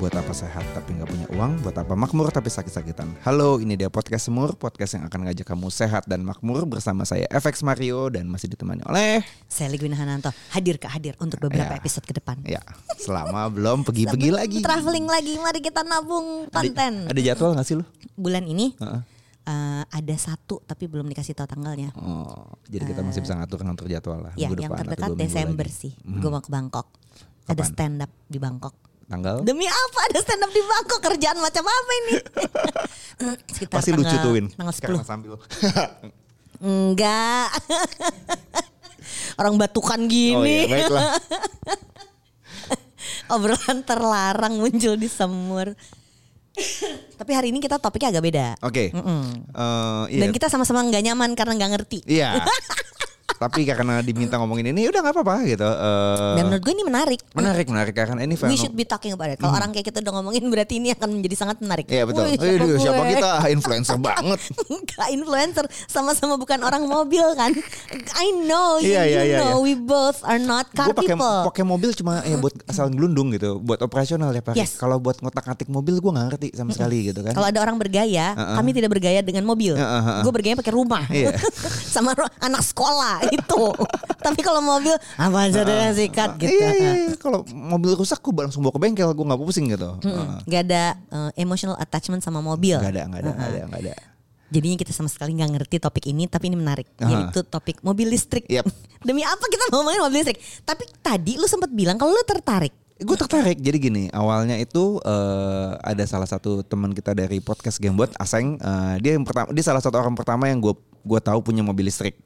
Buat apa sehat tapi nggak punya uang? Buat apa makmur tapi sakit-sakitan? Halo, ini dia podcast Semur, podcast yang akan ngajak kamu sehat dan makmur bersama saya FX Mario dan masih ditemani oleh Saya Ligwina Hananto hadir ke hadir untuk beberapa Ya. episode ke depan. ya selama belum pergi-pergi Sambil lagi. Traveling lagi, mari kita nabung Ada, konten. ada jadwal nggak sih lu? Bulan ini Heeh. eh, ada satu tapi belum dikasih tahu tanggalnya. Oh, jadi kita masih bisa ngatur ngatur jadwal lah. Ya, minggu yang depan atau terdekat dua minggu Desember lagi. Hmm. sih. Gue mau ke Bangkok. Kapan? Ada stand up di Bangkok. Tanggal? Demi apa ada stand up di Bangkok? Kerjaan macam apa ini? Sekitar Pasti lucu tanggal- tuh Win. Tanggal Karena sambil. 10. Enggak. Orang batukan gini. Oh iya, baiklah. Obrolan terlarang muncul di semur. Tapi hari ini kita topiknya agak beda. Oke. Mm-mm. Eh, iya. Mm. Dan kita sama-sama nggak nyaman karena nggak ngerti. Iya. Tapi karena diminta ngomongin ini, udah nggak apa-apa gitu. Eh, Dan menurut gue ini menarik. menarik, menarik karena ini We fenomen- should be talking about it. Kalau orang kayak kita udah ngomongin berarti ini akan menjadi sangat menarik. Iya betul. Wih, Siapa, gue? siapa kita Ah, influencer banget. Enggak influencer sama-sama bukan orang mobil kan. I know you, Iya, iya, you iya, know iya. we both are not car Gue pakai people. pakai mobil cuma ya buat asal gelundung gitu, buat operasional ya Pak. Yes. Kalau buat ngotak-ngatik mobil gue nggak ngerti sama sekali gitu kan. Kalau ada orang bergaya, kami tidak bergaya dengan mobil. Heeh, heeh. Gue bergaya pakai rumah. Iya. Sama ro- anak sekolah itu. Tapi kalau mobil apa aja deh yang sikat gitu. Iya, iya, iya. Kalau mobil rusak gue langsung bawa ke bengkel, gue nggak pusing gitu. Heeh. Gak ada eh, emotional attachment sama mobil. Hmm. Nggak ada, nggak ada, nggak Ah, ada, nggak ada. Jadinya kita sama sekali nggak ngerti topik ini, tapi ini menarik. Aha. Yaitu topik mobil listrik. Yap. Demi apa kita mau ngomongin mobil listrik? Tapi tadi lu sempat bilang kalau lu tertarik. Gue tertarik. Jadi gini, awalnya itu eh, ada salah satu teman kita dari podcast Gamebot, Aseng. eh, dia yang pertama, dia salah satu orang pertama yang gue gue tahu punya mobil listrik,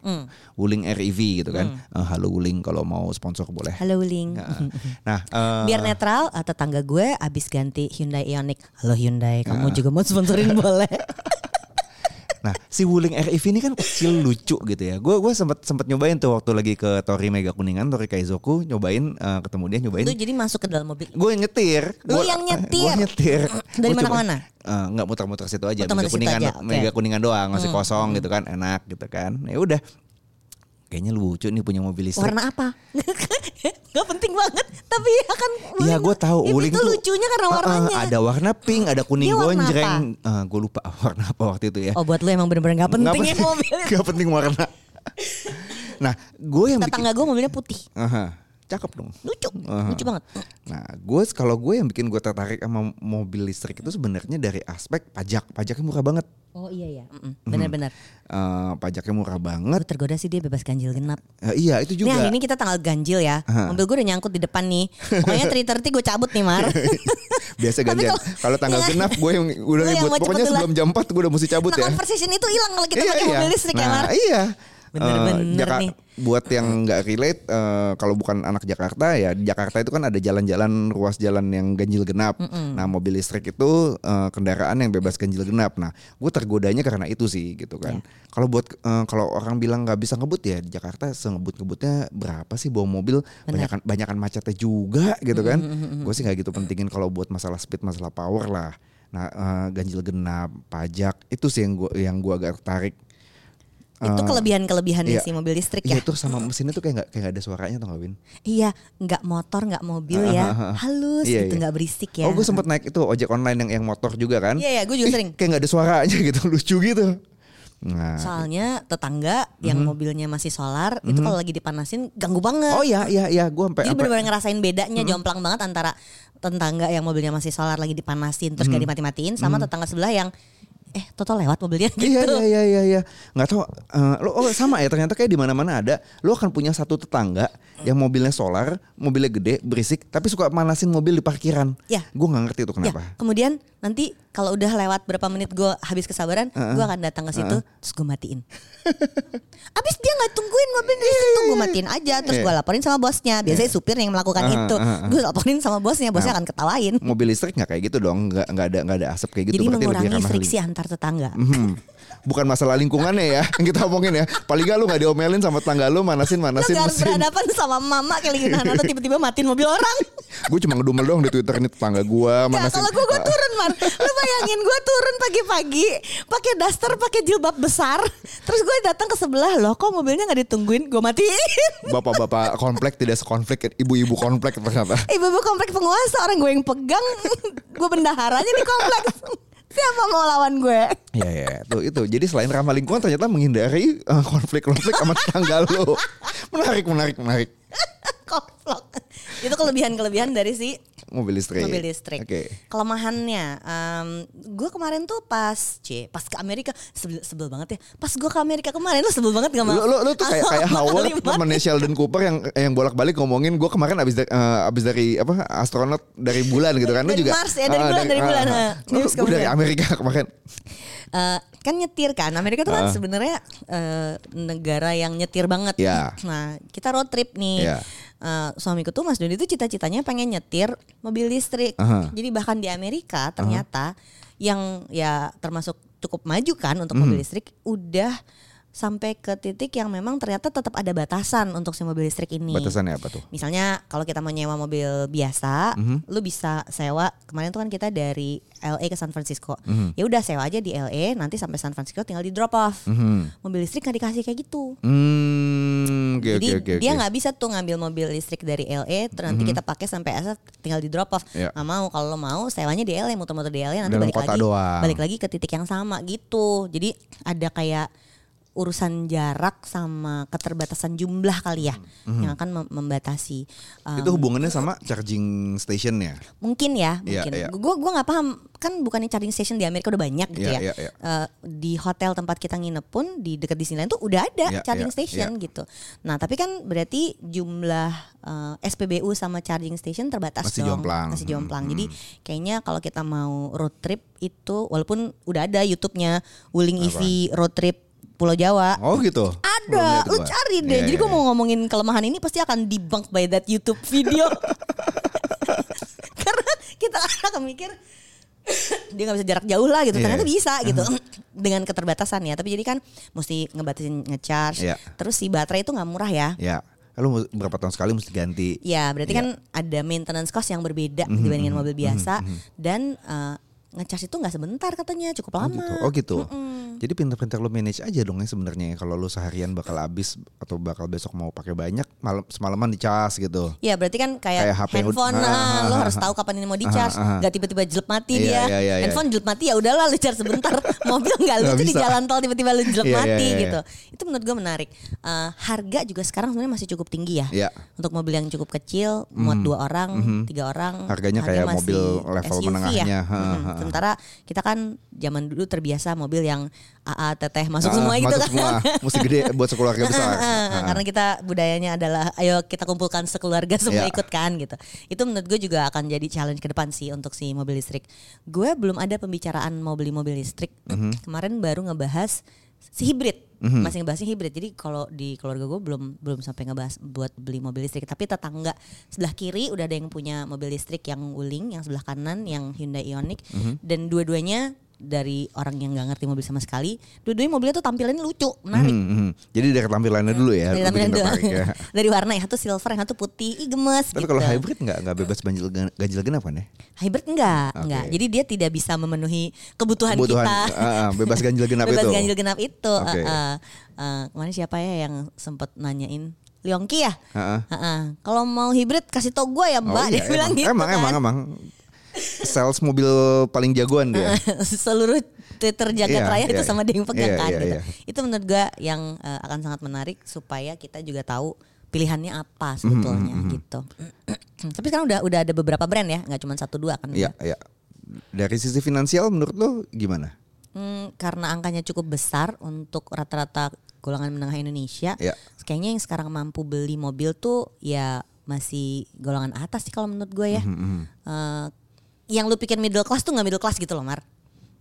Wuling REV gitu kan. Eh, halo Wuling, kalau mau sponsor boleh. Halo Wuling. Nah, nah, eh, Biar netral eh, tetangga gue abis ganti Hyundai Ioniq. Halo Hyundai, kamu juga mau sponsorin boleh. nah si Wuling REV ini kan kecil lucu gitu ya. Gue gue sempet sempet nyobain tuh waktu lagi ke Tori Mega Kuningan, Tori Kaizoku, nyobain eh, ketemu dia nyobain. Lu jadi masuk ke dalam mobil. Gue nyetir. Lu Gua- yang nyetir? Gua nyetir. Gua Dari mana cuma- ke mana? Eh, Enggak muter-muter situ aja. Muter-muter Mega situ kuningan, aja, oke. Hmm. mega kuningan doang masih kosong gitu kan, enak gitu kan. Ya udah. Kayaknya lucu nih punya mobil listrik. Warna apa? Gak penting banget, tapi akan Iya gue tahu Uling Wuling itu tuh lucunya karena Heeh, warnanya. ada warna pink, ada kuning Dia warna gonjreng. gue lupa warna apa waktu itu ya. Oh buat lu emang bener-bener gak penting ya mobil. Gak penting warna. nah, gue yang bikin Tetangga gue mobilnya putih. Aha, cakep dong. Lucu, Aha. lucu banget. Nah, gue kalau gue yang bikin gue tertarik sama mobil listrik itu sebenarnya dari aspek pajak. Pajaknya murah banget. Oh iya ya, Mm-mm, bener-bener. Eh, pajaknya murah banget. Gue tergoda sih dia bebas ganjil genap. Eh, iya, itu Nih juga. Ah. hari ini kita tanggal ganjil ya. Mobil gue udah nyangkut di depan nih. Pokoknya 3.30 gue cabut nih Mar. Iya, Biasa gantian. Tapi kalau- Kalau tanggal Iya. genap gue yang udah Lu yang ribut. mau Pokoknya cepet sebelum jam 4 gue udah mesti cabut nah ya. conversation itu hilang kalau kita pakai mobil listrik nah, ya Mar. Iya. Bener-bener Eh, Jaka- nih. Buat yang nggak relate, eh, kalau bukan anak Jakarta ya di Jakarta itu kan ada jalan-jalan ruas jalan yang ganjil genap. Nah mobil listrik itu eh, kendaraan yang bebas ganjil genap. Nah gue tergodanya karena itu sih gitu kan. Iya. Kalau buat eh, kalau orang bilang nggak bisa ngebut ya di Jakarta sengebut-ngebutnya berapa sih bawa mobil? Banyakan banyakan macetnya juga gitu kan. Gue sih nggak gitu pentingin kalau buat masalah speed, masalah power lah. Nah eh, ganjil genap, pajak itu sih yang gue yang gua agak tertarik. Itu kelebihan-kelebihannya iya. sih mobil listrik ya. Iya tuh sama mesinnya tuh kayak nggak kayak nggak ada suaranya tuh nggak Win? Iya, nggak motor, nggak mobil Ah, ya, halus Iya, gitu, iya. nggak berisik ya. Oh gue sempet naik itu ojek online yang yang motor juga kan? Iya, iya, gue juga Ih, sering. Kayak nggak ada suaranya gitu lucu gitu. Nah. Mhm. Soalnya tetangga yang mobilnya masih solar itu kalau lagi dipanasin ganggu banget. Oh Mhm. iya iya iya gue sampai Jadi sampai- benar-benar ngerasain bedanya jomplang banget antara tetangga yang mobilnya masih solar lagi dipanasin terus gak Mhm. dimati-matiin sama tetangga sebelah yang eh Toto lewat mobilnya gitu. Iya iya iya iya iya. Nggak tahu eh, lo oh, sama ya ternyata kayak di mana-mana ada. Lo akan punya satu tetangga yang mobilnya solar, mobilnya gede, berisik, tapi suka manasin mobil di parkiran. Iya. Gue nggak ngerti itu Ya, kenapa. kemudian nanti kalau udah lewat berapa menit gue habis kesabaran, gue akan datang ke situ, terus gue matiin. Abis dia nggak tungguin mobil Iya, di situ, gue matiin aja, terus gue laporin sama bosnya. Biasanya supir yang melakukan Ah, itu, ah, ah. gue laporin sama bosnya, Nah. bosnya akan ketawain. Mobil listrik nggak kayak gitu dong, nggak nggak ada nggak ada asap kayak gitu. Jadi berarti lebih mengurangi ramah lingkungan. friksi antar tetangga. Hmm. Bukan masalah lingkungannya ya yang kita omongin ya. Paling gak lu gak diomelin sama tetangga lu manasin Lo manasin gak mesin. berhadapan sama mama kayak lagi nahan atau tiba-tiba matiin mobil orang. Gue cuma ngedumel doang di Twitter ini tetangga gua Ya manasin. kalau gue gue turun man, lu bayangin gue turun pagi-pagi pakai daster, pakai jilbab besar. Terus gue datang ke sebelah loh, kok mobilnya nggak ditungguin, gue matiin. Bapak-bapak komplek tidak sekonflik ibu-ibu komplek ternyata. Ibu-ibu komplek penguasa orang gue yang pegang, gue bendaharanya di kompleks. Siapa mau lawan gue? Iya ya, tuh itu. Jadi selain ramah lingkungan ternyata menghindari eh, konflik-konflik sama tetangga lo. Menarik, menarik, menarik. Koplok. Itu kelebihan-kelebihan dari si Mobil listrik. mobil listrik. Oke. Kelemahannya, em, gue kemarin tuh pas c, pas ke Amerika sebel, sebel banget ya. Pas gue ke Amerika kemarin lo sebel banget gak mau? Lu, lu, lu tuh kayak kayak Howard temennya Sheldon Cooper yang yang bolak-balik ngomongin gue kemarin abis dari, eh, abis dari apa astronot dari bulan gitu kan lu Dari juga Mars ya, dari ah, bulan, dari ah, bulan, ah. ah. Lu- News gua dari kemudian. Amerika kemarin Eh, kan nyetir kan Amerika tuh Ah. kan sebenarnya eh, negara yang nyetir banget. Ya. Nah kita road trip nih. Ya. Eh, suamiku tuh Mas Dodi tuh cita-citanya pengen nyetir mobil listrik. Aha. Jadi bahkan di Amerika ternyata yang ya termasuk cukup maju kan untuk mobil listrik udah sampai ke titik yang memang ternyata tetap ada batasan untuk si mobil listrik ini. batasannya apa tuh? Misalnya kalau kita mau nyewa mobil biasa, Mhm. lu bisa sewa. Kemarin tuh kan kita dari LA ke San Francisco. Mhm. Ya udah sewa aja di LA, nanti sampai San Francisco tinggal di drop off. Mhm. Mobil listrik nggak dikasih kayak gitu. Hmm, oke Jadi oke oke. Mhm. dia oke. nggak bisa tuh ngambil mobil listrik dari LA, ter- nanti kita pakai sampai SF tinggal di drop off. Iya. Nggak mau kalau lo mau sewanya di LA, muter-muter di LA nanti Dalam balik kota lagi, doang. balik lagi ke titik yang sama gitu. Jadi ada kayak urusan jarak sama keterbatasan jumlah kali ya yang akan mem- membatasi. Mhm. Um, Itu hubungannya sama charging stationnya. mungkin ya mungkin iya. gue gua nggak paham kan bukannya charging station di Amerika udah banyak gitu Iya, ya iya, iya. Eh, di hotel tempat kita nginep pun di dekat Disneyland tuh udah ada Iya, charging iya, station gitu nah tapi kan berarti jumlah eh, SPBU sama charging station terbatas Masih dong jomplang. masih jomplang Hmm, jadi kayaknya kalau kita mau road trip itu walaupun udah ada YouTube-nya Wuling EV road trip Pulau Jawa Oh gitu. Belum lihat ada, gua. lu cari deh. Iya, Jadi iya, gue iya. mau ngomongin kelemahan ini pasti akan debunk by that YouTube video. Karena kita akan mikir dia nggak bisa jarak jauh lah gitu. Iya. Ternyata bisa gitu dengan keterbatasan ya. Tapi jadi kan mesti ngebatasin ngecharge. Iya. Terus si baterai itu nggak murah ya. Ya, lu mu- berapa tahun sekali mesti ganti? Ya berarti Iya. Mhm, kan ada maintenance cost yang berbeda dibandingin mobil biasa dan eh, ngecharge itu nggak sebentar katanya cukup Oh lama. gitu. Oh gitu. Jadi pinter-pinter lu manage aja dong ya sebenarnya. Kalau lu seharian bakal habis atau bakal besok mau pakai banyak, malam semalaman dicas gitu. Ya berarti kan kayak, Kayak HP yang handphone udah- ah, ah, lo ah, harus ah. tahu kapan ini mau di charge, Ah, ah. nggak tiba-tiba jelek mati Iya, dia. iya, iya, iya. handphone jelek mati ya udahlah lu charge sebentar, mobil nggak Nggak lucu di bisa. jalan tol tiba-tiba lu jelek Iya, iya, iya, mati iya. gitu. Itu menurut gue menarik. Eh, harga juga sekarang sebenarnya masih cukup tinggi ya. Iya. Hmm. Untuk mobil yang cukup kecil, muat dua orang, tiga orang, Harganya kayak masih mobil level SUV menengahnya. Ha, Mm-mm. ha, ha. ya. Hmm. Sementara kita kan zaman dulu terbiasa mobil yang AA, teteh masuk Ah, semua gitu masuk kan. semua. Mesti gede buat sekeluarga besar. Eh, eh, Ah. Karena kita budayanya adalah ayo kita kumpulkan sekeluarga semua Iya. ikut kan gitu. Itu menurut gue juga akan jadi challenge ke depan sih untuk si mobil listrik. Gue belum ada pembicaraan mau beli mobil listrik. Mhm. Kemarin baru ngebahas si hibrid. Masih ngebahasnya hibrid. Jadi kalau di keluarga gue belum belum sampai ngebahas buat beli mobil listrik, tapi tetangga sebelah kiri udah ada yang punya mobil listrik yang Wuling, yang sebelah kanan yang Hyundai Ioniq Mhm. dan dua-duanya dari orang yang nggak ngerti mobil sama sekali, dua-duanya mobilnya tuh tampilannya lucu, menarik. Hmm, hmm. Jadi dari tampilannya dulu ya. lu Dari bikin tampilan doang. tertarik ya. Iya, Dari warna ya, satu silver, yang satu putih, Ih, gemes Tapi gitu. kalau hybrid nggak nggak bebas ganjil ganjil genap kan ya? Hybrid enggak, Oke. enggak. Jadi dia tidak bisa memenuhi kebutuhan, Kebutuhan kita. ah, ah, bebas ganjil genap Bebas itu. ganjil genap itu. Oke. Eh, eh, eh, kemarin siapa ya yang sempat nanyain Leongki ya? Ah, ah. Heeh. Kalau mau hybrid kasih tau gue ya Oh mbak iya, Dia bilang emang, gitu emang, kan emang emang sales mobil paling jagoan Ah. dia. seluruh Twitter jagat Iya, raya itu iya, sama dia yang pegang iya, kan iya, gitu. iya. Itu menurut gua yang eh, akan sangat menarik supaya kita juga tahu pilihannya Mhm, apa sebetulnya gitu. Tapi sekarang udah udah ada beberapa brand ya, nggak cuma satu dua kan. Iya, iya. Dari sisi finansial menurut lo gimana? Hmm, karena angkanya cukup besar untuk rata-rata golongan menengah Indonesia. Iya. Kayaknya yang sekarang mampu beli mobil tuh ya masih golongan atas sih kalau menurut gua ya. Mhm, Eh, yang lu pikir middle class tuh nggak middle class gitu loh Mar.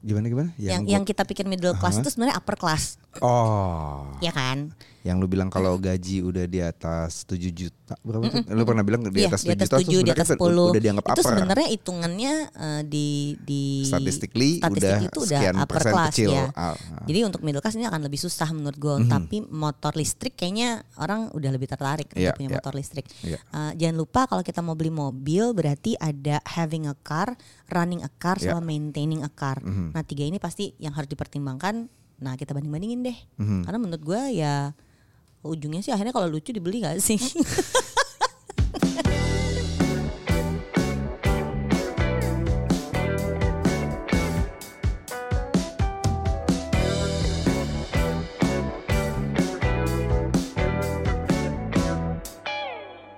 Gimana gimana? Yang yang, gua- kita pikir middle class itu sebenarnya upper class. Oh. ya kan yang lu bilang kalau gaji udah di atas 7 juta berapa tuh? Lu pernah bilang di Iya, atas 7 di atas juta 7, di sebenarnya atas udah- 10. udah dianggap itu upper. sebenarnya hitungannya eh, di di Statistically udah statistik itu udah sekian upper persen class kecil. ya. Ah, ah. Mhm. Jadi untuk middle class ini akan lebih susah menurut gue. Tapi motor listrik kayaknya orang udah lebih tertarik untuk Iya, punya iya. motor listrik. Iya. Eh, jangan lupa kalau kita mau beli mobil berarti ada having a car, running a car, Iya. Mhm. sama maintaining a car. Nah tiga ini pasti yang harus dipertimbangkan. Nah Mhm. kita banding bandingin deh. Karena menurut gue ya ujungnya sih akhirnya kalau lucu dibeli gak sih?